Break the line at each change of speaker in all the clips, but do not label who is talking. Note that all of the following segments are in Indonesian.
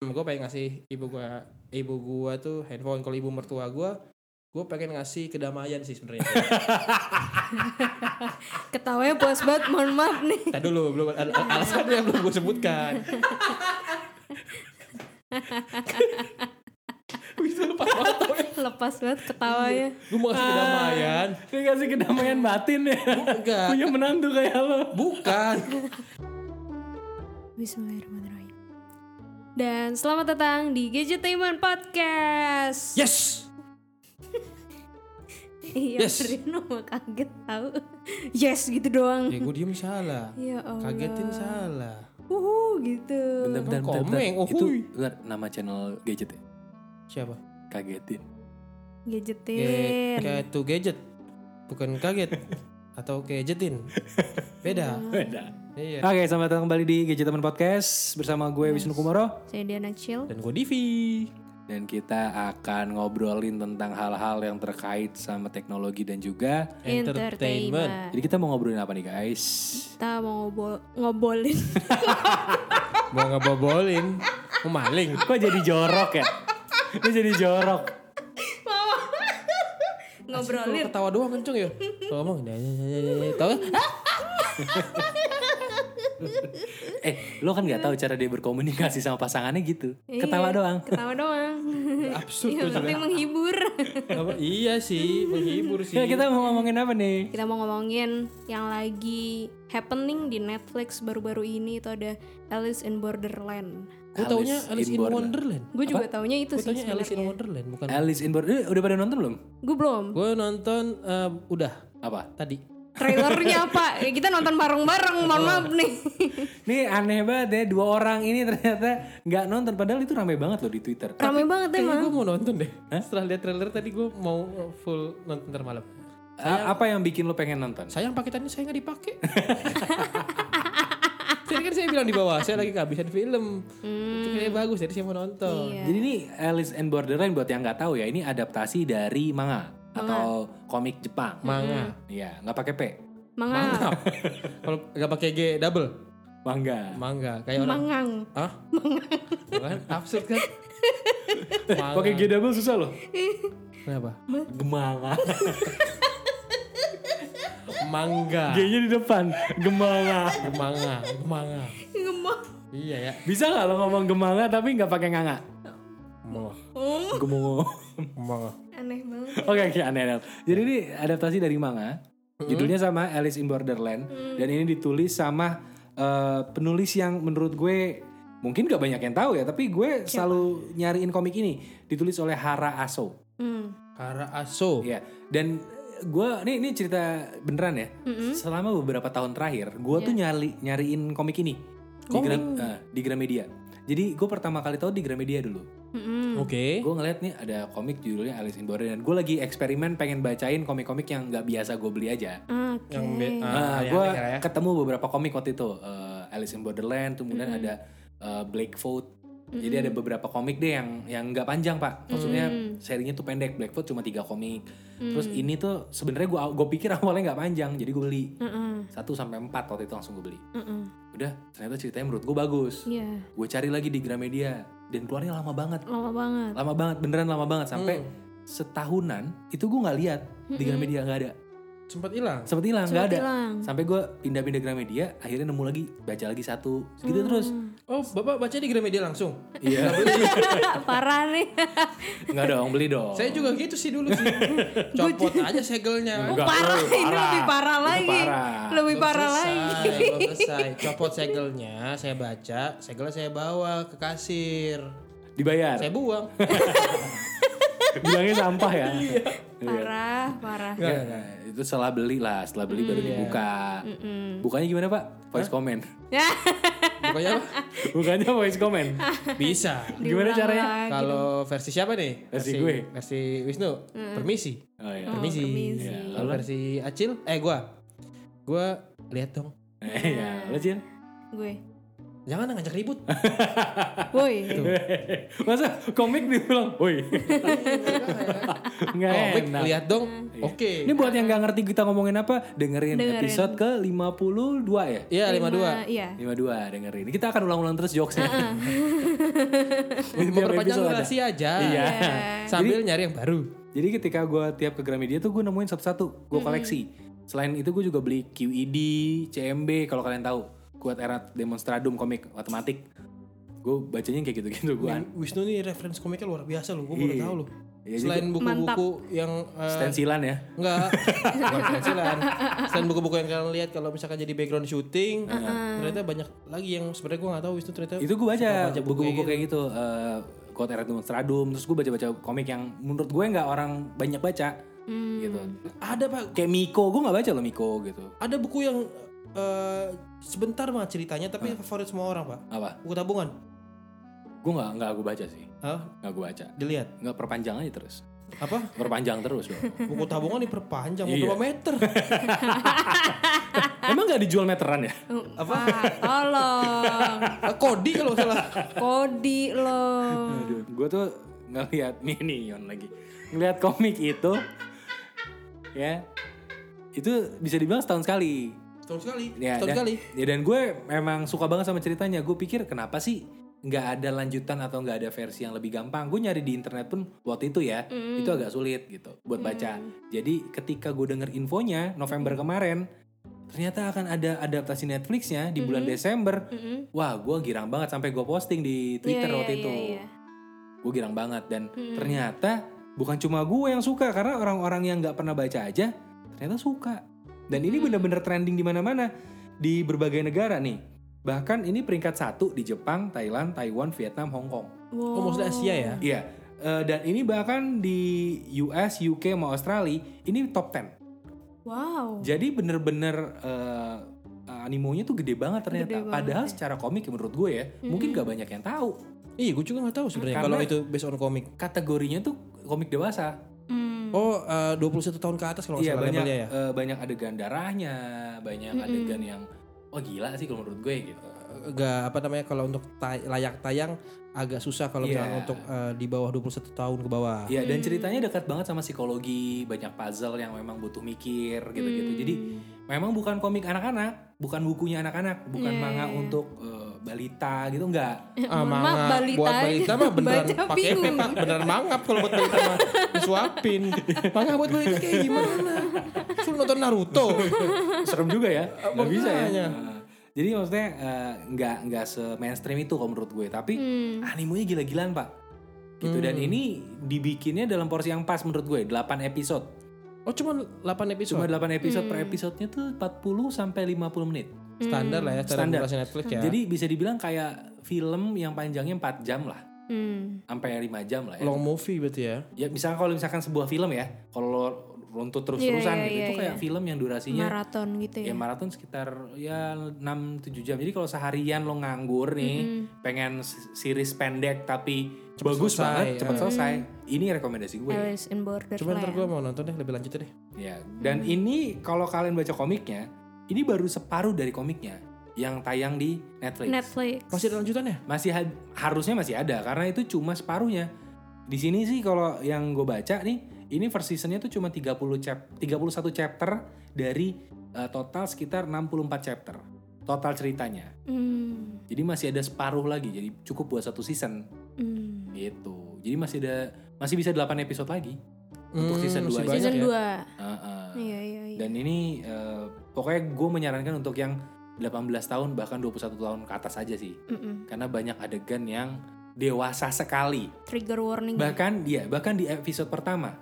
gue pengen ngasih ibu gua ibu gua tuh handphone kalau ibu mertua gua gue pengen ngasih kedamaian sih sebenarnya
Ketawanya puas banget, mohon maaf nih.
Tadi dulu belum ada al- alasannya yang belum gue sebutkan bisa lupa
Lepas banget ketawanya.
gue mau ngasih kedamaian
Dikasih kedamaian batin ya.
enggak
Punya menantu kayak lo.
bukan
Bismillahirrahmanirrahim. Dan selamat datang di Gadgetainment Podcast.
yes
Iya,
Yes.
Rino mah kaget tahu. Yes gitu doang.
ya gue diem salah
Ya Allah.
kagetin salah
Uhuh, gitu.
Bentar, bentar, bentar, bentar.
Komeng, oh,
Itu
hui.
bentar, nama channel gadget ya?
siapa
Kagetin.
Ge-
Gadgetin.
Iya, kayak tuh gadget bukan kaget atau gadgetin beda
Beda.
iya
Oke, selamat datang kembali di Gadget Teman Podcast bersama gue Wisnu Kumoro
Saya Diana Chill.
dan gue Divi
dan kita akan ngobrolin tentang hal-hal yang terkait sama teknologi dan juga
Entertainment.
jadi kita mau ngobrolin apa nih guys?
Kita mau ngobo- ngobolin.
mau ngebobolin mau maling
Kok jadi jorok ya? Ini jadi jorok.
Kalau
Ngobrolin.
ketawa doang kenceng ya kalau ngomong "Dah, dah, dah, dah, dah." tahu
Eh, lo kan nggak tahu cara dia berkomunikasi sama pasangannya gitu. Ketawa
Iya,
doang.
Ketawa doang.
absurd
Yang penting menghibur.
Apa- iya sih menghibur sih
Ya, kita mau ngomongin apa nih?
Kita mau ngomongin yang lagi happening di Netflix baru-baru ini itu ada Alice in Borderland.
gue taunya Alice in
Borderland.
Wonderland
Gue juga taunya itu
gue
sih
taunya Alice in
sebenarnya.
Wonderland bukan
Alice in Borderland udah pada nonton belum?
Gue belum.
gue nonton eh, udah
Apa?
tadi
Trailernya apa? Ya, kita nonton bareng-bareng, mohon maaf nih.
Nih aneh banget ya dua orang ini ternyata nggak nonton padahal itu ramai banget loh di Twitter.
Rame banget ya,
kayaknya
emang.
gue mau nonton deh setelah lihat trailer tadi gue mau eh, full nonton ntar malam
A- apa yang bikin lo pengen nonton?
sayang paketannya saya nggak dipakai Tadi kan saya bilang di bawah, saya lagi kehabisan film. Itu kayaknya bagus, jadi saya mau nonton.
Jadi ini Alice in Borderland buat yang nggak tahu ya ini adaptasi dari manga, atau komik Jepang.
Manga.
Iya nggak pakai p,
Mangang.
Mantap. Kalau nggak pakai G double,
manga.
manga. Kayak orang
Mangang.
Hah? Bukan absurd kan? Manga.
Pakai g double susah loh.
Kenapa?
Gemanga.
Mangga.
G-nya di depan. Gemanga.
Manga, manga.
Ngemok.
Iya ya.
Bisa nggak lo ngomong gemanga tapi nggak pakai nganga?
Manga.
Oh,
Gemungo.
Manga.
aneh banget.
Oke oke aneh aneh. Jadi ini adaptasi dari manga. Judulnya sama Alice in Borderland dan ini ditulis sama eh, penulis yang menurut gue mungkin gak banyak yang tahu ya tapi gue selalu nyariin komik ini ditulis oleh Hara Aso.
Hmm.
Hara Aso.
Iya. Dan gue ini ini cerita beneran ya. Selama beberapa tahun terakhir gue tuh nyari nyariin komik ini di, Gram- eh, di Gramedia. Jadi gue pertama kali tahu di Gramedia dulu.
Mm-mm.
Oke.
Gue ngeliat nih ada komik judulnya Alice in Borderland. Gue lagi eksperimen pengen bacain komik-komik yang nggak biasa gue beli aja.
Oke.
Yang be- Hmm. ah,
Nah,
yang
gue
aneh ya.
ketemu beberapa komik waktu itu Eh, Alice in Borderland, tuh kemudian
Hmm.
ada eh, Black Vote. Jadi ada beberapa komik deh yang yang nggak panjang pak. Maksudnya
Hmm.
serinya tuh pendek. Black Vote cuma tiga komik. Terus ini tuh sebenarnya gue gue pikir awalnya nggak panjang. Jadi gue beli
Hmm.
Mm-mm.
satu sampai empat waktu itu langsung gue beli.
Mm-mm.
Udah ternyata ceritanya menurut gue bagus.
Hmm.
Iya,
Gue cari lagi di Gramedia dan keluarnya lama banget
lama banget.
lama banget beneran lama banget sampai
Hmm.
setahunan itu gue nggak lihat di Gramedia nggak ada
Sempat hilang.
sempat hilang nggak
Sempat
ada
Hmm. hilang.
sampai gue pindah-pindah Gramedia akhirnya nemu lagi baca lagi satu
Hmm.
gitu terus
Oh, Bapak baca di Gramedia langsung.
iya
Parah nih.
nggak dong beli
Oh.
dong
Saya juga gitu sih dulu sih. Copot aja segelnya.
Oh,
Enggak,
parah.
lu
Ini
parah.
lebih parah
Itu
lagi.
parah.
Lebih
Belum
parah
selesai,
lagi.
belum selesai. Copot segelnya, saya baca, segelnya saya bawa ke kasir.
dibayar
Saya buang.
bilangnya sampah ya
Iya.
Parah, parah.
Ya, itu setelah beli lah setelah beli baru
Hmm.
dibuka bukannya gimana pak voice comment
Ya,
Pokoknya apa?
bukannya voice comment
Bisa.
Ah,
gimana
diulang
caranya
lagi.
Kalau versi siapa nih?
Versi gue.
Versi Wisnu. Permisi.
oh iya
Hmm.
Permisi.
permisi.
Iya,
Kalau
lo-
versi Acil, eh gua. Gua lihat dong.
iya lo Cil?
Gue.
Jangan ngajak ribut.
Woi.
Masa komik dibilang, woi nggak
Komik
enak.
Oh, lihat dong.
Iya.
Oke.
Ini buat yang nggak ngerti kita ngomongin apa, dengerin,
Dengerin.
episode ya? ke 52 ya.
Iya, 52.
Iya.
52 dengerin. Kita akan ulang-ulang terus jokesnya. Tiap
Memperpanjang
episode ada.
durasi aja.
Iya.
Iya.
Sambil nyari yang baru.
Jadi ketika gue tiap ke Gramedia tuh gue nemuin satu-satu, gue koleksi. Selain itu gue juga beli E QED, CMB kalau kalian tahu, kuat era demonstradum komik matematik. Gue bacanya kayak gitu-gitu gue.
Wi- Wisnu nih referensi komiknya luar biasa loh, gue baru
Iya.
tahu loh.
Ya, jadi
Selain buku-buku yang eh,
stensilan ya.
enggak bukan stensilan. Selain buku-buku yang kalian lihat kalau misalkan jadi background shooting, ternyata banyak lagi yang sebenarnya gue nggak tahu Wisnu ternyata
itu gue baca
suka buku
buku-buku kayak gitu eh quote era demonstradum terus gue baca-baca komik yang menurut gue nggak orang banyak baca gitu
ada pak
kayak Miko gue nggak baca loh Miko gitu
ada buku yang eh, sebentar banget ceritanya tapi favorit semua orang pak
apa
buku tabungan
gue nggak nggak gue baca sih
Hah?
nggak gue baca
dilihat
nggak perpanjang aja terus
apa
perpanjang terus dong
buku tabungan diperpanjang mau
Iya.
berapa meter
emang nggak dijual meteran ya
Apa? Uh, Tolong.
Eh, kodi kalau nggak salah
Kodi lo.
gue tuh ngelihat minion lagi ngelihat komik itu ya itu bisa dibilang setahun sekali
setahun sekali
Ya,
setahun
dan,
sekali
ya, dan gue emang suka banget sama ceritanya. Gue pikir kenapa sih nggak ada lanjutan atau nggak ada versi yang lebih gampang. Gue nyari di internet pun waktu itu ya,
Mm.
itu agak sulit gitu buat baca. Jadi ketika gue denger infonya November
Mm.
kemarin, ternyata akan ada adaptasi Netflixnya di bulan
Mm-hmm.
Desember.
Mm-mm.
Wah, gue girang banget sampai gue posting di Twitter
Iya,
waktu
iya,
itu.
iya, iya.
Gue girang banget dan
Mm-mm.
ternyata bukan cuma gue yang suka karena orang-orang yang nggak pernah baca aja ternyata suka dan
Hmm.
ini bener-bener trending di mana-mana di berbagai negara nih bahkan ini peringkat satu di Jepang Thailand Taiwan Vietnam Hong Kong
Wow.
Oh, maksudnya Asia ya?
iya eh, dan ini bahkan di US UK sama Australia ini top 10
Wow.
jadi bener-bener eh, animonya tuh gede banget ternyata
Gede banget
padahal
ya. Hmm.
secara komik ya menurut gue ya mungkin gak banyak yang tahu
iya gue juga nggak tahu sebenarnya
Karena-
kalau itu based on komik
kategorinya tuh komik dewasa
Hmm.
oh eh, 21 tahun ke atas kalau nggak
Iya
salah
banyak
labelnya ya
eh, banyak adegan darahnya, banyak
Mm-mm.
adegan yang oh gila sih kalau menurut gue gitu.
Gak apa namanya kalau untuk tay- layak tayang agak susah kalau
Iya.
misalnya untuk eh, di bawah 21 tahun ke bawah
Iya dan ceritanya dekat banget sama psikologi, banyak puzzle yang memang butuh mikir gitu-gitu. Jadi memang bukan komik anak-anak, bukan bukunya anak-anak, bukan
Mm. Iya,
manga
iya, iya.
untuk eh, balita gitu enggak.
Ah,
Eh, Mohon
manga.
maaf, balita
buat balita mah beneran
baca
pakai
bingung.
pepak beneran mangap kalau buat balita mah disuapin mangap buat balita kayak gimana suruh nonton Naruto
Serem juga ya. Enggak bisa ya.
makanya.
Nah, Jadi maksudnya eh, nggak nggak se mainstream itu kalau menurut gue, tapi
Hmm.
animonya gila-gilaan, Pak. Gitu dan
Hmm.
ini dibikinnya dalam porsi yang pas menurut gue, 8 episode.
oh cuma 8
Cuma
episode
8 episode
Hmm.
per episodenya tuh 40 sampai 50 menit.
standar lah ya cara
Standar.
durasi Netflix ya
Jadi bisa dibilang kayak film yang panjangnya 4 jam lah,
Hmm.
sampai 5 jam lah ya.
long movie berarti ya
Ya misalkan kalau misalkan sebuah film ya, kalau runtut terus-terusan
Iya, iya,
gitu itu
iya,
kayak
iya.
film yang durasinya
Maraton gitu ya.
Iya,
ya maraton sekitar ya 6 7 jam. Jadi kalau seharian lo nganggur nih, pengen s- series pendek tapi bagus
selesai,
banget,
ya.
cepat selesai. Ini rekomendasi gue.
Alice in Borderland.
cuma ntar gue mau nonton deh lebih lanjut deh
Ya, dan
Hmm.
ini kalau kalian baca komiknya, ini baru separuh dari komiknya yang tayang di Netflix.
Netflix.
masih ada ya? lanjutannya
Masih ha- harusnya masih ada karena itu cuma separuhnya. Di sini sih kalau yang gue baca nih, ini first seasonnya tuh cuma 30 chap 31 chapter dari eh, total sekitar 64 chapter total ceritanya.
Hmm.
Jadi masih ada separuh lagi. Jadi cukup buat satu season
Hmm.
gitu. Jadi masih ada masih bisa 8 episode lagi. Untuk season
masih
dua aja.
banyak
Season
ya.
2.
Heeh.
Iya, iya, iya.
Dan ini eh, pokoknya gue menyarankan untuk yang 18 tahun bahkan 21 tahun ke atas aja sih.
Mm-mm.
Karena banyak adegan yang dewasa sekali.
Trigger warning.
Bahkan dia bahkan di episode pertama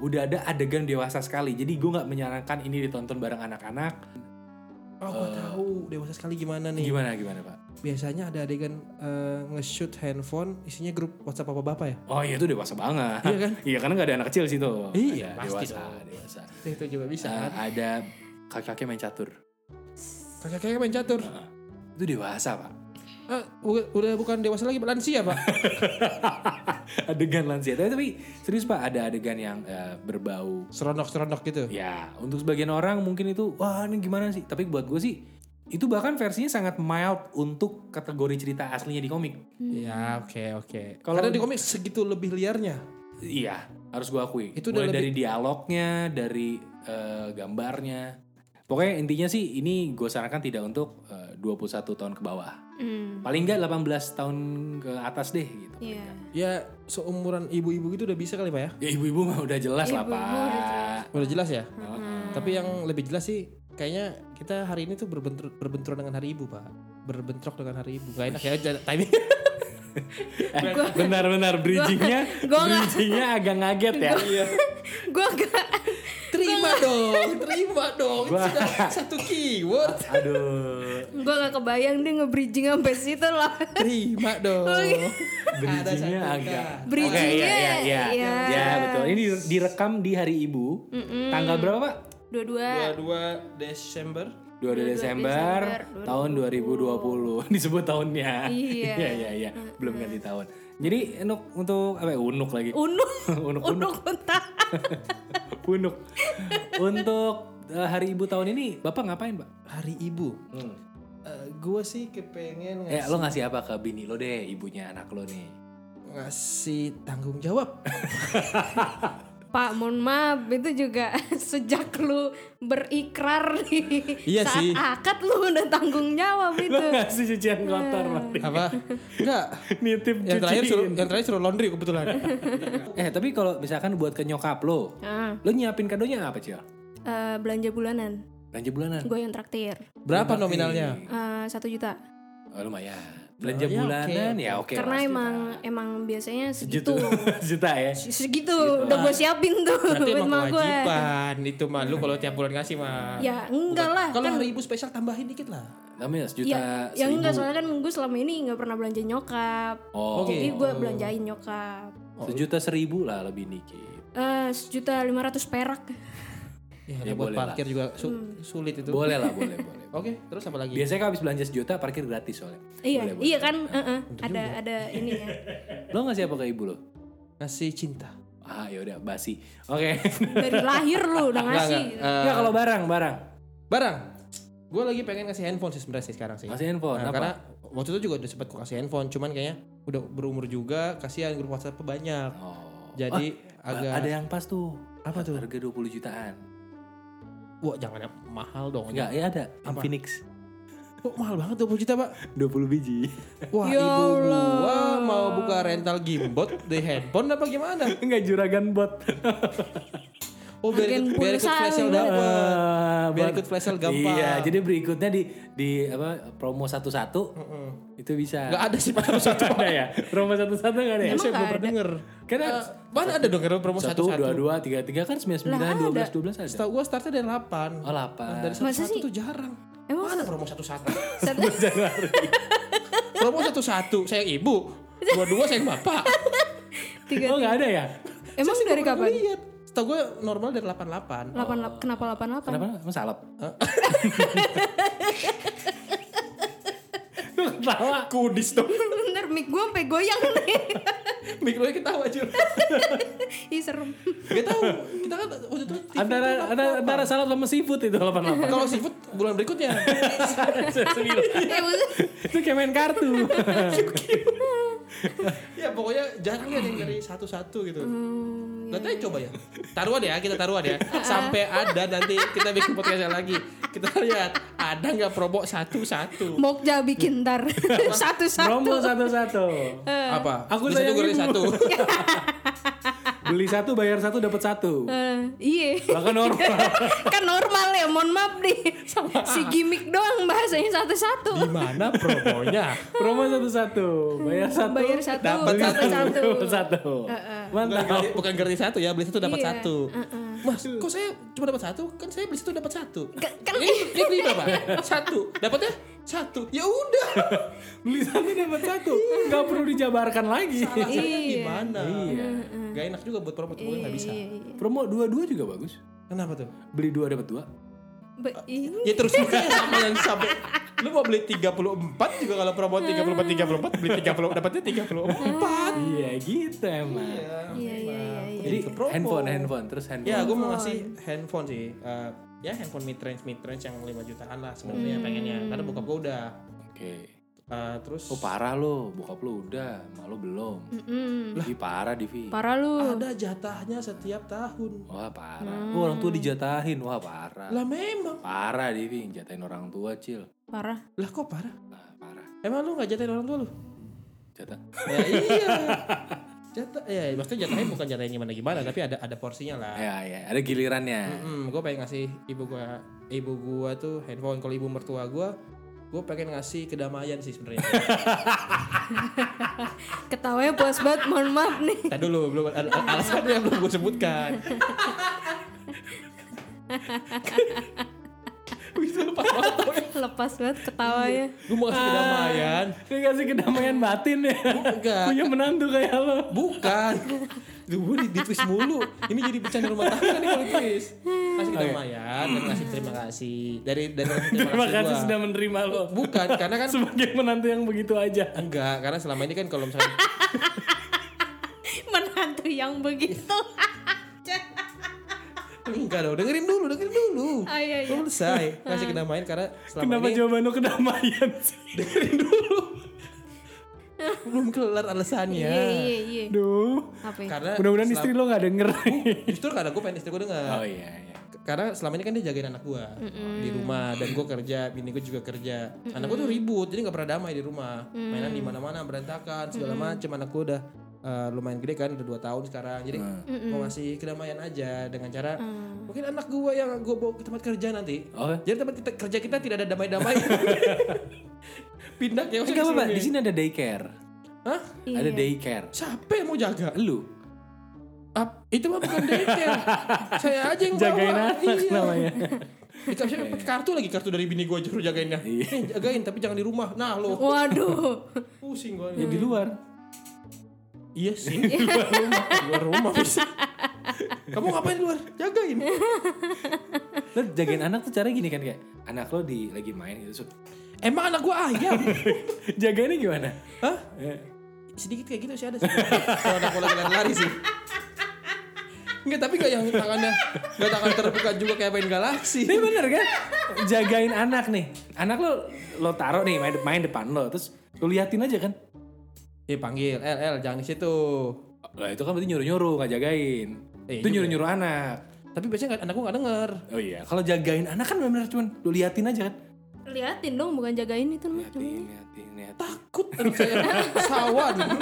udah ada adegan dewasa sekali. Jadi gue nggak menyarankan ini ditonton bareng anak-anak.
oh gue
Eh.
tahu dewasa sekali gimana nih
Gimana gimana, Pak?
biasanya ada adegan eh, nge-shoot handphone isinya grup WhatsApp apa bapak ya
Oh, iya itu dewasa banget.
Iya kan?
iya, karena nggak ada anak kecil sih tuh.
Iya,
Ada
pasti
dewasa,
dong.
dewasa.
itu juga bisa
Eh,
kan?
ada kakaknya main catur.
kakak-kakak main catur
Itu dewasa, Pak.
Ah, u- udah bukan dewasa lagi lansia pak
adegan lansia. Tapi, tapi serius, Pak, ada adegan yang eh, berbau
seronok seronok gitu
Ya, untuk sebagian orang mungkin itu wah ini gimana sih? Tapi buat gue sih Itu bahkan versinya sangat mild untuk kategori cerita aslinya di komik.
Ya oke oke.
Kalau-
Karena di komik segitu lebih liarnya.
Iya, harus gua akui.
Itu udah
Mulai
lebih-
dari dialognya, dari eh, gambarnya. Pokoknya intinya sih ini gue sarankan tidak untuk eh, 21 tahun ke bawah.
Hmm.
Paling nggak 18 tahun ke atas deh gitu.
Iya.
Ya seumuran ibu-ibu gitu udah bisa kali pak ya.
Ya ibu-ibu mah udah jelas lah
Ibu-ibu
pak.
udah jelas.
Udah jelas ya.
Heeh.
Tapi yang lebih jelas sih kayaknya kita hari ini tuh berbentur berbenturan dengan hari ibu pak. Berbentrok dengan hari ibu. Gak enak ya j- timing.
Eh, Benar-benar bridgingnya,
gua nggak-
bridgingnya agak ngaget ya.
Gue gak
terima dong, terima dong. Itu
Gua-
sudah satu keyword.
Aduh.
Gue gak kebayang dia nge-bridging sampai situ lah
Terima dong.
Bridgingnya
satu kak.
agak. Oke, iya, iya, iya.
Bridgingnya, iya.
Ya, betul. Ini direkam di hari Ibu. Tanggal berapa, Pak?
Iya.
Dua-dua
22 Desember
22 Desember tahun 2020. Disebut tahunnya.
Iya.
iya, iya, iya. Belum ganti tahun. Jadi Unuk untuk apa? ya? Unuk lagi.
Unuk
unuk, unuk,
Unuk mentah
unuk. untuk eh, hari Ibu tahun ini, Bapak ngapain, Pak?
hari ibu. gue sih kepengen
Eh, lo ngasih apa ke bini lo deh, ibunya anak lo nih?
ngasih tanggung jawab.
Pak mohon maaf itu juga sejak lu berikrar di
Iya
saat
sih.
akad lu udah tanggung jawab
Lo
itu Hmm.
ngasih cucian kotor, Pak.
Apa? Enggak.
Nitip
Yang terakhir suruh
cuciin.
yang terakhir suruh laundry kebetulan.
Eh, tapi kalau misalkan buat ke nyokap lo,
Ah,
lo nyiapin kadonya apa, Cil?
eh, Belanja bulanan
Belanja bulanan.
Gue yang traktir
Berapa nominalnya?
Eh, Satu juta
Oh, lumayan. Belanja
Oh, ya, oke,
bulanan
oke.
ya oke.
Karena
pasti,
emang
Pak.
emang biasanya segitu
sejuta sejuta ya
Segitu udah gue siapin tuh
Berarti
buat
emang
emak gue.
kewajiban itu mah lu kalau tiap bulan ngasih mah.
Ya enggak lah
Kalau
kan
hari ibu spesial tambahin dikit lah.
namanya sejuta
Ya,
seribu
yang enggak soalnya kan gue selama ini nggak pernah belanja nyokap.
oh
Oke.
Jadi gue belanjain nyokap.
sejuta seribu lah lebih dikit
Eh sejuta lima ratus perak.
Ya,
Ya,
buat
boleh lah.
parkir juga su-
Hmm.
sulit itu.
boleh lah boleh boleh
Oke, terus apa lagi?
biasanya kalau habis belanja sejuta parkir gratis soalnya
Iya,
Boleh, boleh.
iya kan? eh, eh, Ada ada ya. ininya.
lo ngasih apa ke ibu lo
Ngasih cinta.
ah yaudah basi oke
Eh,
Dari lahir lu udah
Enggak,
ngasih.
enggak. Eh,
Nggak, kalau barang barang
barang. Gue lagi pengen ngasih handphone sih sebenarnya sih sekarang sih.
ngasih handphone
Nah,
apa
karena waktu itu juga udah sempat gua kasih handphone, cuman kayaknya udah berumur juga, kasihan grup WhatsApp banyak.
oh.
Jadi
Ah,
agak
ada yang pas tuh
apa tuh?
harga 20 jutaan
Wah, jangan yang mahal dong.
enggak ya ada
Oh, iya. Apa?
Infinix
Kok mahal banget 20 juta, Pak?
20 biji
Wah,
Ya
ibu gua
Allah.
mau buka rental gimbot di handphone apa gimana?
enggak juragan bot
Eh, Oh, biar
Agen
ikut, biar ikut
pulsa
flash sale
lu.
dapet.
Ah,
Biar
buat-
ikut flash sale gampang.
Iya, jadi berikutnya di di apa promo satu-satu itu bisa.
Nggak ada sih Pak satu.
ada ya? Promo satu-satu nggak ada ya?
Saya belum
nggak
pernah denger.
Karena
Eh, mana ada dong promo
satu, dua,
satu-satu?
dua, tiga, tiga kan sembilan sembilan, dua belas, dua belas ada.
Setahu gua startnya dari 8.
Oh lapan.
Dari
Masa
satu-satu
sih?
tuh jarang.
Emang
Mana promo satu-satu?
satu-
promo satu-satu, saya yang ibu. Dua-dua saya yang bapak.
tiga.
Oh nggak ada ya?
Emang dari kapan?
Lihat. Setahu gue normal dari 88.
Delapan lap- kenapa delapan delapan?
Kenapa? Emang salep? Lu ketawa.
Kudis dong.
Bener mic gue sampai goyang nih.
Mikronya ketawa aja.
Ih serem.
Gak tahu. Kita kan waktu itu TV
Antara
itu
antara,
apa?
antara salep sama seafood itu delapan delapan.
kalau seafood bulan berikutnya.
Eh, maksud-
Itu kayak main kartu.
ya pokoknya jarang lihat yang dari satu-satu gitu.
Hmm,
Nanti
iya,
aja coba ya. Taruhan ya, kita taruhan ya. Sampai ada nanti kita bikin podcastnya lagi. Kita lihat ada nggak promo satu-satu.
Mokja bikin ntar satu
Promo
satu.
satu-satu.
Eh,
Apa?
Aku
Di situ
sayang
gue lihat
ibu.
satu.
Beli satu bayar satu dapat satu.
Eh, iya.
Bahkan normal.
kan normal ya mohon maaf nih si gimmick doang bahasanya
Di
satu-satu
mana promonya?
Promo satu-satu, bayar satu,
bayar satu
Dapat
dapat satu
dapat satu.
Bukan
Mantap.
ganti, bukan ganti satu ya, beli satu dapat
Iya,
satu. Mas, kok saya cuma dapat satu? Kan saya beli satu dapat satu.
Ke- kan-
ini, ini beli berapa? satu. Dapatnya satu. Ya udah.
Beli satu dapat satu, nggak perlu dijabarkan lagi.
Alasannya
Iya.
gimana?
Iya.
Gak enak juga buat promo, gue gak bisa.
Iya, iya.
Promo dua-dua juga bagus.
Kenapa tuh?
Beli dua dapat dua.
Ba- iya.
Ya terus makanya sama yang sampai lu mau beli 34 juga kalau promo 34 34 beli 30 dapatnya 34.
Iya gitu emang.
Iya, iya, iya,
Jadi
Jadi Iya.
promo.
handphone, handphone, terus handphone.
Ya, gue mau ngasih handphone sih. Eh, ya handphone mid range mid range yang 5 jutaan lah sebenarnya pengennya karena bokap gue udah
Oke.
Eh, terus
Oh parah lo, bokap lo udah, emak lo belum.
Mm-mm.
Divi parah Divi.
Parah lu.
ada jatahnya setiap tahun
Wah parah. Oh, orang tua dijatahin, wah parah.
lah memang
Parah Divi, jatahin orang tua cil.
Parah.
lah kok parah
Nah, parah.
emang lu nggak jatahin orang tua lu
Jatah.
ya iya jatah ya maksudnya jatahnya bukan jatahnya gimana gimana tapi ada ada porsinya lah
Ya ya, ada gilirannya.
Hmm, gue pengen ngasih ibu gue, ibu gue tuh handphone. Kalau ibu mertua gue, gue pengen ngasih kedamaian sih sebenarnya.
Ketawanya puas banget. Mohon maaf nih.
Tadi dulu belum al- al- alasannya belum gue sebutkan. Bisa lupa
Lepas banget ketawanya.
Gue mau
Ah.
ngasih kedamaian.
Dia kasih kedamaian batin ya.
Enggak,
Punya menantu kayak lo.
bukan. Gue di, di twist mulu. Ini jadi bercanda rumah tangga nih kalau twist. Kasih kedamaian dan ngasih terima kasih. Dari dari ngasih
Terima kasih
gua.
sudah menerima lo.
Bukan, karena kan
Sebagai menantu yang begitu aja.
enggak, karena selama ini kan kalau misalnya
Menantu yang Iya. begitu.
Enggak dong, dengerin dulu, dengerin dulu.
Oh, iya,
Belum selesai. Kasih kedamaian karena selama
Kenapa
ini
jawaban lo kedamaian sih?
belum kelar alasannya.
Iya iya iya.
Duh.
Apa ya?
Karena
Mudah-mudahan
selam-
istri lo gak denger.
justru karena gue pengen istri gue dengar.
Oh iya iya.
Karena selama ini kan dia jagain anak gue di rumah dan gue kerja, bini gue juga kerja. Anak gue tuh ribut, jadi nggak pernah damai di rumah.
Mm.
Mainan di mana-mana berantakan segala macem Anak gue udah eh, lumayan gede kan, udah 2 tahun sekarang. Jadi
Nah.
mau ngasih kedamaian aja dengan cara
Ah.
mungkin anak gue yang gue bawa ke tempat kerja nanti
Oh,
Jadi tempat kita, kerja kita tidak ada damai-damai. Pindah ya
enggak apa-apa. Di sini ada daycare.
Hah?
Ada daycare.
Siapa yang mau jaga?
Lu
Ap, itu mah bukan daycare. Saya aja yang
jagain
bawa.
anak
Iya.
namanya.
Dikasih pakai kartu lagi kartu dari bini gue juru jagainnya.
Iya.
Nih, jagain tapi jangan di rumah. Nah lo
Waduh.
pusing gue.
Ya di luar.
Iya sih. Di luar rumah. Di luar rumah bisa. Kamu ngapain di luar? Jagain.
Lo jagain anak tuh caranya gini kan kayak anak lo di lagi main gitu. So,
Emang anak gue ayam.
jagainnya gimana?
Hah?
Eh,
sedikit kayak gitu sih ada sih. Kalau anak bola lari-lari sih. Enggak, tapi enggak yang tangannya enggak tangan terbuka juga kayak main galaksi.
Ini bener kan? Jagain anak nih. Anak lo lo taruh nih main, main depan lo terus lo liatin aja kan.
Eh panggil, "El, El, jangan di situ."
Lah itu kan berarti nyuruh-nyuruh nggak jagain.
Iya
itu
juga.
nyuruh-nyuruh anak.
Tapi biasanya nggak- anak gue enggak denger.
Oh iya, kalau jagain anak kan benar-benar cuman lo liatin aja kan.
Liatin dong bukan jagain itu namanya.
Liatin, liatin, liatin.
Takut aduh saya sawah dulu.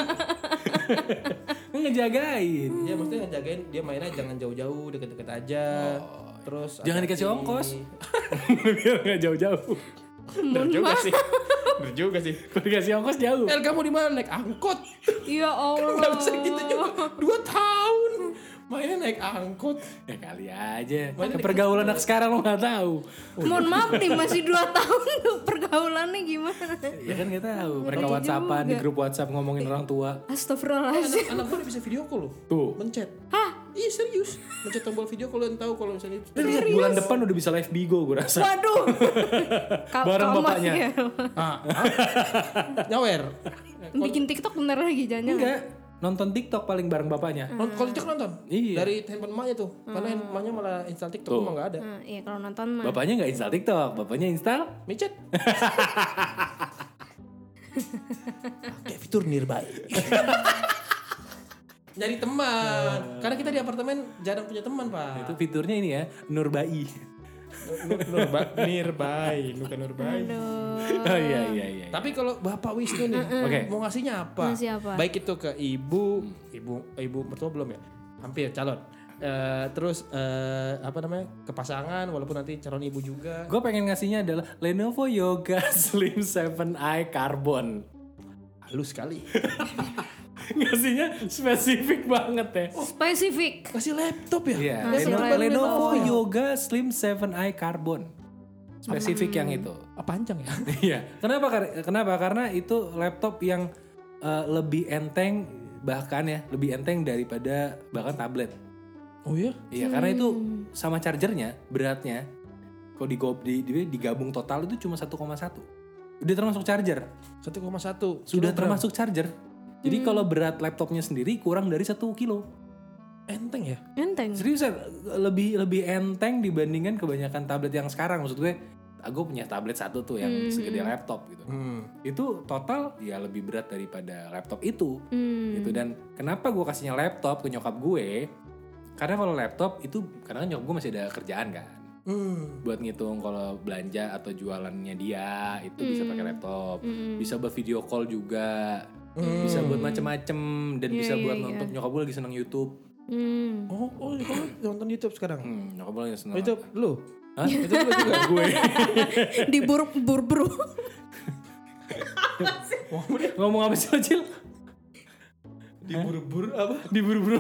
Ngejagain.
Ya maksudnya ngejagain dia mainnya jangan jauh-jauh, deket-deket aja. Terus
Oh, iya. Jangan
hati-hati.
dikasih ongkos. Biar nggak jauh-jauh.
Bener juga sih. Bener juga sih.
Kalau dikasih ongkos jauh.
El kamu di mana naik angkot?
Ya Allah.
Gak bisa gitu juga. Dua tahun mainnya naik angkot.
Ya kali aja. Pergaulan anak sekarang lo nggak tahu.
Mohon maaf nih masih 2 tahun tuh pergaulannya gimana?
Ya kan nggak tahu. Mereka WhatsAppan di grup WhatsApp ngomongin orang tua.
Astagfirullahaladzim.
Anak gue udah bisa video call loh.
Tuh.
Mencet.
Hah?
Iya serius. Mencet tombol video call dan tahu kalau misalnya itu.
Bulan depan udah bisa live Bigo gue rasa.
Waduh. Ka-
Bareng
kamar
bapaknya.
ya.
Ah, ah. nyawer.
Bikin TikTok bener lagi jangan.
Enggak. Iya. Nonton TikTok paling bareng bapaknya.
Nont- Kalau TikTok nonton
Iya.
dari handphone emaknya tuh, karena
Hmm.
emaknya malah install TikTok emang nggak ada.
Nah, iya kalau nonton mah.
Bapaknya nggak install TikTok, bapaknya install
Micet. Pakai fitur nearby. Nyari teman, karena kita di apartemen jarang punya teman
itu
pak.
fiturnya ini ya Nurbai.
Nurba, nearby, bukan nurbai.
Oh iya iya iya.
Tapi kalau Bapak Wisnu nih,
Oke.
mau ngasihnya apa?
Ngasih apa?
Baik itu ke ibu, ibu, ibu mertua belum ya? Hampir calon. Eh, terus eh, apa namanya ke pasangan, walaupun nanti calon ibu juga.
Gue pengen ngasihnya adalah Lenovo Yoga Slim 7i Carbon.
Halus sekali.
ngasihnya spesifik banget ya.
Spesifik.
Kasih laptop ya? iya.
Iya,
Ngasih
Lenovo,
Lenovo.
Lenovo iya. Yoga Slim 7i Carbon. Spesifik yang itu.
Ah, panjang ya?
Iya. Kenapa? Kar- Kenapa? Karena itu laptop yang eh, lebih enteng bahkan ya, lebih enteng daripada bahkan tablet.
Oh ya?
Iya, karena itu sama chargernya, beratnya kalau digob- di, di- digabung total itu cuma 1,1. Udah termasuk charger.
1,1
Sudah
kilogram.
termasuk charger. Jadi kalau berat laptopnya sendiri kurang dari 1 kilo.
enteng ya
Enteng.
Seriusan lebih lebih enteng dibandingkan kebanyakan tablet yang sekarang maksud gue. Aku punya tablet satu tuh yang
Hmm, hmm.
segede laptop gitu.
hmm.
Itu total ya lebih berat daripada laptop itu.
Hmm.
Gitu dan kenapa gue kasihnya laptop ke nyokap gue? Karena kalau laptop itu karena kan nyokap gue masih ada kerjaan kan.
Hmm.
Buat ngitung kalau belanja atau jualannya dia itu bisa
Hmm.
pakai laptop.
Mm-mm.
Bisa buat video call juga.
Hmm.
Bisa buat macem-macem dan
Iya,
bisa
iya,
buat
iya.
nonton nyokap gue lagi seneng YouTube.
Hmm.
oh oh kamu nonton YouTube sekarang
Hmm, nyokap gue lagi seneng.
Oh, itu lu
Hah? Itu lu juga gue.
Di buruk buru
Ngomong apa sih lo, Cil?
diburu-buru apa
Diburu-buru.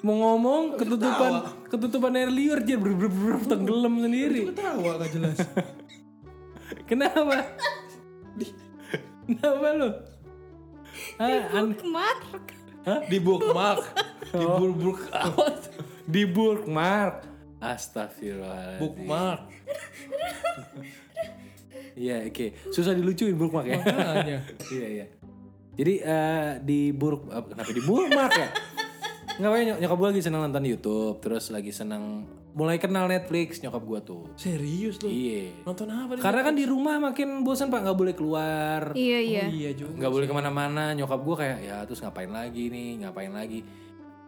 Mau ngomong ketutupan ketutupan air liur Cil. Buru-buru tenggelam sendiri.
ketawa gak jelas
Kenapa? Kenapa lo? Ah, an-
Mark.
di bookmark di bookmark Ah,
di bookmark. Astagfirullahaladzim.
bookmark
Iya, oke. Susah dilucuin bookmark ya.
Makanya.
Iya, iya. Jadi eh, di buruk eh, kenapa di bookmark ya? Nggak apa nyokap gue lagi seneng nonton YouTube, terus lagi seneng mulai kenal Netflix nyokap gue tuh.
serius lu
Iya.
nonton apa di-
Karena kan di rumah makin bosan pak, nggak boleh keluar,
Iya iya.
iya juga
nggak boleh kemana-mana. Nyokap gue kayak ya terus ngapain lagi nih, ngapain lagi.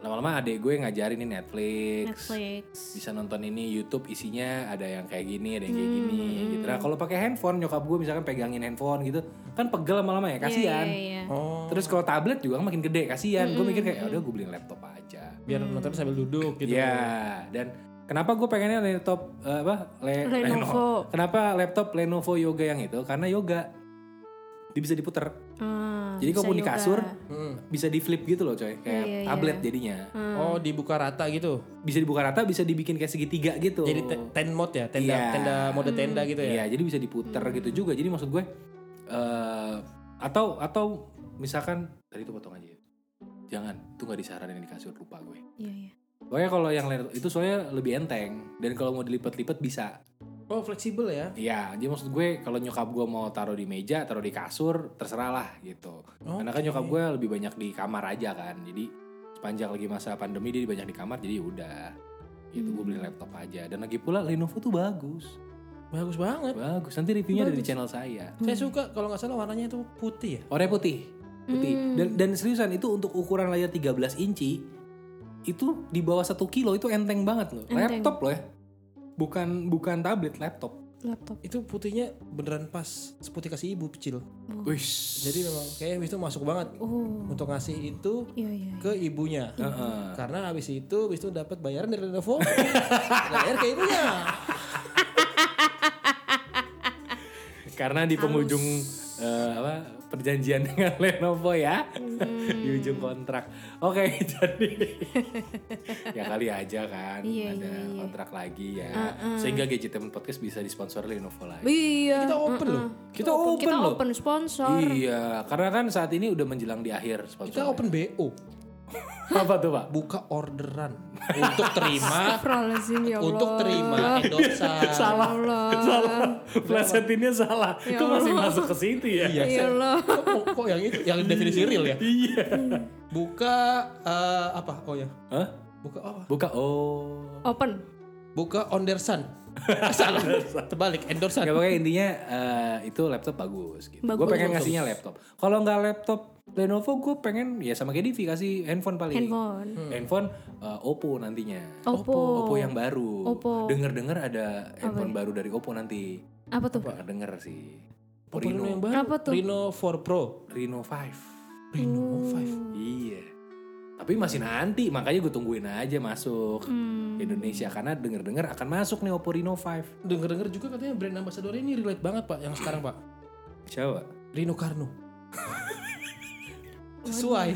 Lama-lama adek gue ngajarin nih Netflix.
Netflix.
Bisa nonton ini YouTube isinya ada yang kayak gini, ada yang kayak gini
Hmm.
gitu. Nah, kalau pakai handphone nyokap gue misalkan pegangin handphone gitu, kan pegel lama-lama ya, kasihan.
Iya, iya.
oh
Terus kalau tablet juga kan makin gede, kasihan. Gue mikir kayak udah gue beliin laptop aja.
biar nonton sambil duduk gitu
Iya, dan kenapa gue pengennya laptop eh, apa? Le-
Lenovo.
Kenapa laptop Lenovo Yoga yang itu? Karena yoga dia bisa diputer.
Ah,
Jadi
bisa
kalau di
yoga.
kasur
Hmm.
bisa di flip gitu loh, coy. Kayak
Iya, iya,
tablet jadinya.
oh dibuka rata gitu
Bisa dibuka rata, bisa dibikin kayak segitiga gitu.
jadi te- ten mode ya tenda
Iya.
tenda mode tenda gitu ya
Iya, jadi bisa diputer
Hmm.
gitu juga. Jadi maksud gue eh atau atau misalkan tadi itu potong aja ya. Jangan, itu nggak disaranin di kasur lupa gue.
Iya iya.
Pokoknya kalau yang laptop itu soalnya lebih enteng dan kalau mau dilipat-lipat bisa.
oh fleksibel ya
Iya, jadi maksud gue kalau nyokap gue mau taruh di meja, taruh di kasur, terserah lah gitu. Karena kan nyokap gue lebih banyak di kamar aja kan. Jadi sepanjang lagi masa pandemi dia banyak di kamar, jadi udah. Gitu gue beli laptop aja. Dan lagi pula Lenovo tuh bagus.
bagus banget
Bagus. Nanti reviewnya ada di
Bagus.
channel saya.
saya suka kalau nggak salah warnanya itu putih ya
Warnanya putih. Putih.
Hmm.
Dan dan seriusan itu untuk ukuran layar 13 inci itu di bawah 1 kilo itu enteng banget loh.
Enteng.
Laptop loh ya. Bukan bukan tablet, laptop.
Laptop.
itu putihnya beneran pas seputih kasih ibu kecil
Wih.
jadi memang kayak itu masuk banget
Oh.
untuk ngasih itu
Iya iya.
ke ibunya
Heeh.
karena habis itu habis itu dapat bayaran dari Lenovo bayar ke ibunya
Karena di penghujung eh, apa perjanjian dengan Lenovo ya
Hmm.
di ujung kontrak. Oke, jadi ya kali aja kan
Iya,
ada
iya, iya.
kontrak lagi ya. Sehingga Gadgetainment Podcast bisa disponsori Lenovo lagi.
Iya.
kita open loh
Kita open,
Kita
loh.
open sponsor.
Iya, karena kan saat ini udah menjelang di akhir sponsor.
kita open BO
apa tuh, Pak?
buka orderan untuk terima
Astagfirullahaladzim ya Allah.
untuk terima endorsan
Salah. Allah.
Salah. Plesetinnya salah. Kok masih masuk ke situ ya?
Iya,
Ya
saya-
Allah.
kok, kok- kok yang itu yang definisi real ya?
Iya.
Buka eh, apa? Oh ya.
Hah?
Buka apa?
Buka oh.
Open.
Buka Ondersan. Salah. Terbalik
Gak
Endorsan.
pakai Ya, intinya eh, itu laptop bagus gitu. Gue
Bagus.
pengen ngasihnya laptop. Kalau nggak laptop Lenovo gue pengen ya sama kayak Divi kasih handphone paling.
Handphone.
Handphone eh, Oppo nantinya.
Oppo.
Oppo yang baru.
Oppo.
Dengar-dengar ada handphone baru dari Oppo nanti.
Apa tuh?
Gua denger sih.
Oppo Reno yang
Reno,
baru.
Apa tuh?
Reno 4 Pro. Oh,
Reno 5.
Reno 5.
Iya. Tapi masih nanti, makanya gue tungguin aja masuk
Hmm.
ke Indonesia karena denger-dengar akan masuk nih Oppo Reno 5.
Dengar-dengar juga katanya brand ambassador ini relate banget Pak yang sekarang Pak.
Coba.
Reno Karno. Sesuai.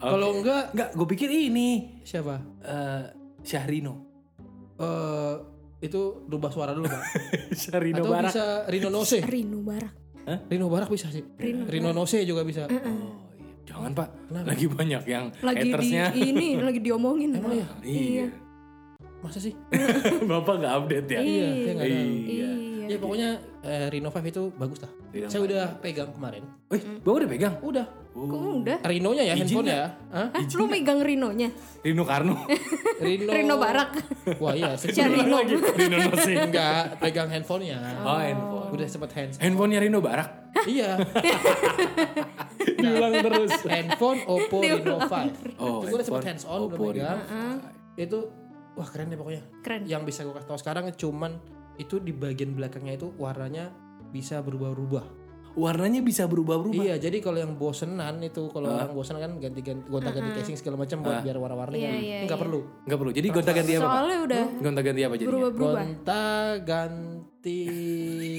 Kalau
Kalau enggak
enggak, gue pikir ini
siapa?
eh Syahrino.
Eh itu rubah suara dulu Pak.
Syahrino
Atau bisa Rino Nose.
Eh.
Rino Barak.
Rino Barak bisa sih.
Rino Eh,
Rino Nose juga bisa.
Oh, iya. Jangan, Pak.
Kenapa?
Lagi banyak yang
Lagi di
hatersnya.
ini lagi diomongin.
Emang ya?
Iya.
Masa sih?
Bapak nggak update ya?
Iya, kayak nggak ada.
Iya.
Ya pokoknya eh, Reno 5 itu bagus lah.
Reno
Saya
5.
udah pegang kemarin.
Eh, Bapak udah pegang?
Udah.
Kok udah?
Rinonya ya
Izin
handphone ya? Hah?
Hah,
Iya.
lu megang Rinonya?
Rino Karno.
Rino.
Rino Barak.
Wah iya,
Cari
sebenarnya
Rino.
Rino Nosing.
enggak pegang handphonenya.
Oh, handphone.
Udah sempet hands.
Handphonenya Rino Barak.
iya,
Diulang terus.
handphone Oppo Reno
Diulang
5.
Oh,
itu gue udah sempet
handphone
hands on udah
Oppo
pegang.
Reno.
Itu wah keren deh pokoknya.
Keren.
Iya,
Yang bisa gue kasih tau sekarang cuman itu di bagian belakangnya itu warnanya bisa berubah-ubah.
Warnanya bisa berubah-berubah.
Iya, jadi kalau yang bosenan itu kalau orang bosenan kan ganti-ganti gonta-ganti casing segala macam buat biar warna-warni
Iya,
kan.
iya,
Enggak
iya.
perlu.
Enggak perlu. Jadi gonta-ganti apa, Pak?
Soalnya udah
Gonta-ganti apa jadi?
berubah-berubah.
Gonta-ganti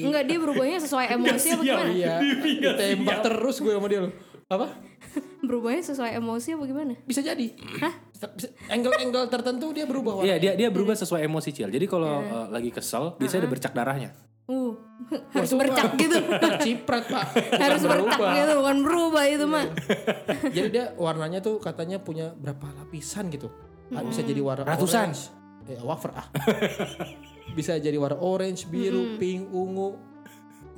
Enggak dia berubahnya sesuai emosi apa gimana?
Iya, ditembak
ya.
terus gue sama dia loh. Apa?
Berubahnya sesuai emosi apa gimana?
Bisa jadi. Hah? Angle-angle tertentu dia berubah warna.
Iya, dia dia berubah sesuai emosi Cil. Jadi kalau eh, lagi kesel, biasanya ada bercak darahnya.
Uh,
itu
harus
mah-
bercak gitu.
Ciprat, Pak. Bukan
harus bercak
berubah.
gitu, bukan berubah itu mah.
Jadi dia warnanya tuh katanya punya berapa lapisan gitu. Ah,
Hmm.
Bisa jadi warna
Ratusan.
orange. Eh, wafer ah. bisa jadi warna orange,
Hmm.
biru, pink, ungu.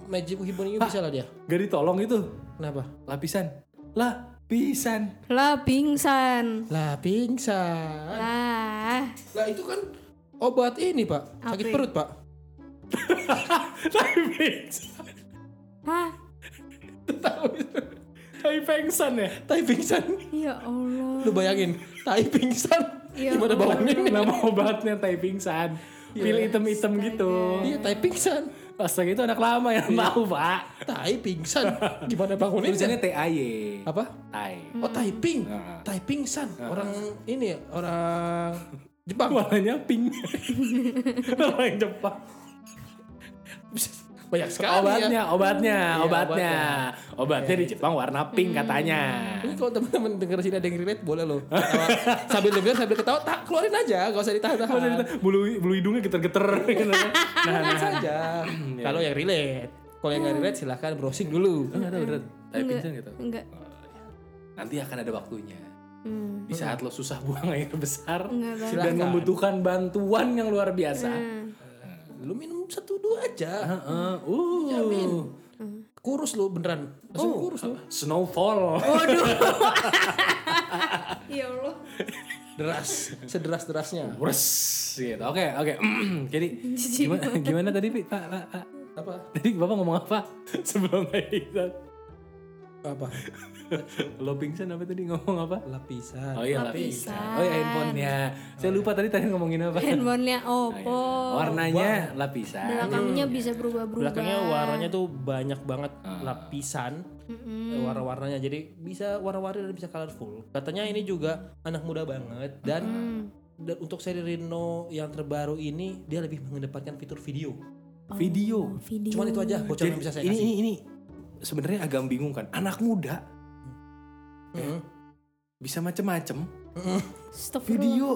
Magic Hiboniu bisa lah dia.
Gak ditolong itu.
Kenapa?
Lapisan. Lapisan.
Lah pingsan.
Lah pingsan.
Lah,
Lah itu kan obat ini, Pak. Sakit
Apa?
perut, Pak.
Tai pingsan.
hah?
Tahu itu.
Tai pengsan ya.
Tai pingsan.
Ya Allah.
Lu bayangin, tai pingsan.
Ya
Gimana baunya ini?
Nama obatnya tai pingsan. Pil item-item gitu.
Iya, tai pingsan.
Astaga itu anak lama yang tahu pak.
Tai pingsan. Gimana bangunnya?
Tulisannya TAY.
Apa?
Tai.
Oh, tai ping.
Nah.
Tai pingsan. Orang ini ya, orang Jepang.
Warnanya pink. Orang Jepang.
Banyak sekali ya.
Obatnya, obatnya, obatnya,
obatnya.
obatnya di Jepang warna pink katanya.
Ini kalau teman-teman denger sini ada yang relate boleh loh. Ketawa. sambil denger sambil ketawa tak keluarin aja, gak usah ditahan-tahan.
Bulu bulu hidungnya geter-geter. gitu. nah, Hmm, ya,
Tahan saja. Kalau yang relate, kalau yang nggak relate silahkan browsing dulu.
ada beneran. Tai pingsan gitu.
Enggak.
Nanti akan ada waktunya.
Hmm.
Di saat lo susah buang air besar
Enggak banget.
dan
Silakan.
membutuhkan bantuan yang luar biasa.
Lu minum satu dua aja.
Heeh. Uh,
Kurus lu beneran. Langsung
Oh.
kurus lu.
Snowfall.
Ya Allah.
Deras, sederas-derasnya.
Wres gitu. Oke, oke. Jadi gimana, gimana tadi Pi? Pak, Pak, Pak?
Apa?
Tadi Bapak ngomong apa sebelum kayak pingsan?
Apa?
Lo pingsan apa tadi ngomong apa?
Lapisan.
Oh iya lah pingsan. Oh iya handphonenya. Saya lupa tadi tadi ngomongin apa.
Handphonenya Oppo.
Warnanya lapisan.
Belakangnya bisa berubah-berubah.
Belakangnya warnanya tuh banyak banget
Ah.
lapisan eh, warna-warnanya. Jadi bisa warna-warni dan bisa colorful. Katanya ini juga anak muda banget dan dan untuk seri Reno yang terbaru ini dia lebih mengedepankan fitur video.
Video.
Video.
uh. Cuman itu aja bocoran yang Oh. bisa saya
ini,
kasih.
ini ini sebenarnya agak bingung kan. Anak muda
Mm.
bisa macem-macem.
Astagfirullah.
Video.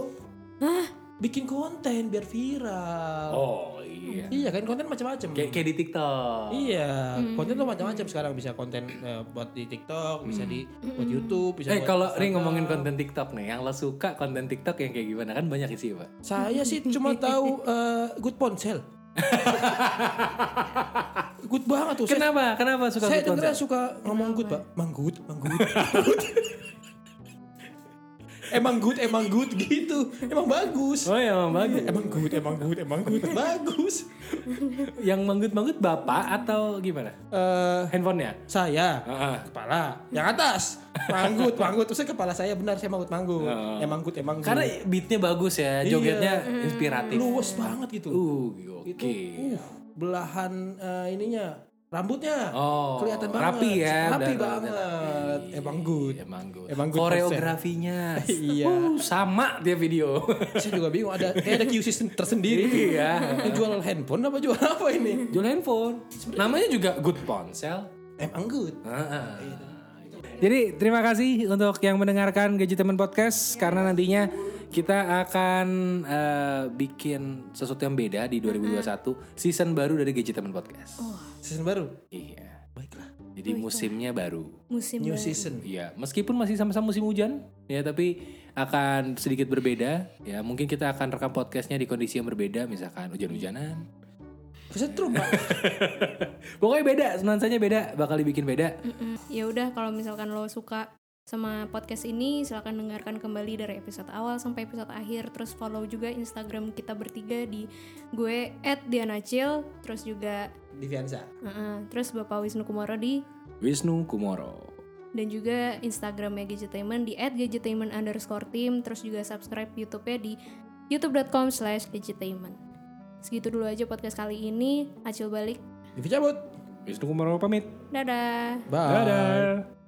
Bikin konten biar viral.
Oh iya.
Iya kan konten macam-macam.
Kayak kayak di TikTok.
Iya, konten tuh macam-macam sekarang bisa konten eh, buat di TikTok, bisa di buat YouTube, bisa
Eh
buat
kalau
Instagram.
ring ngomongin konten TikTok nih, yang lo suka konten TikTok yang kayak gimana kan banyak isi pak.
saya sih cuma tahu eh, Good Ponsel. good banget tuh. Saya-
Kenapa? Kenapa suka
saya
konten?
dengernya suka ngomong good, Pak. Mang good, mang good. good. emang good, emang good gitu. Emang bagus.
Oh ya manggut.
Emang good, emang good, emang good. bagus.
Yang manggut-manggut bapak atau gimana?
Eh,
Handphonenya?
saya
Heeh.
kepala yang atas manggut manggut terus saya kepala saya benar saya manggut manggut
Heeh.
emang manggut emang
Karena beatnya bagus ya, jogetnya inspiratif.
Iya. Hmm. luwes banget gitu
Uh, oke.
Itu, uh, belahan eh, ininya rambutnya
Oh,
kelihatan banget
rapi ya,
rapi
udah- Iya,
banget emang good
Emang good.
Emang good
Koreografinya.
Iya.
Uh, sama dia video.
saya juga bingung ada kayak ada QC tersendiri
iya.
Ini jual handphone apa jual apa ini
Jual handphone. Namanya juga Good Ponsel.
emang good
Jadi terima kasih untuk yang mendengarkan Gaji Teman Podcast karena nantinya kita akan eh, bikin sesuatu yang beda di 2021 season baru dari Gaji Teman Podcast.
season baru
Iya.
baiklah
Jadi musimnya baru.
Musim
new
baru.
season
Iya, meskipun masih sama-sama musim hujan, ya tapi akan sedikit berbeda. Ya, mungkin kita akan rekam podcastnya di kondisi yang berbeda, misalkan hujan-hujanan,
Kesetrum pak.
Pokoknya beda, nuansanya beda, bakal dibikin beda.
Mm-mm. Ya udah kalau misalkan lo suka sama podcast ini silahkan dengarkan kembali dari episode awal sampai episode akhir terus follow juga Instagram kita bertiga di gue @dianacil terus juga
Diviansa.
uh-uh, terus Bapak Wisnu Kumoro di
Wisnu Kumoro.
dan juga Instagramnya Gadgetainment di @gadgetainment underscore team terus juga subscribe YouTube-nya di youtube.com slash gadgetainment segitu dulu aja podcast kali ini acil balik
Divi cabut.
Wisnu Kumoro pamit.
dadah
Bye.
Dadah.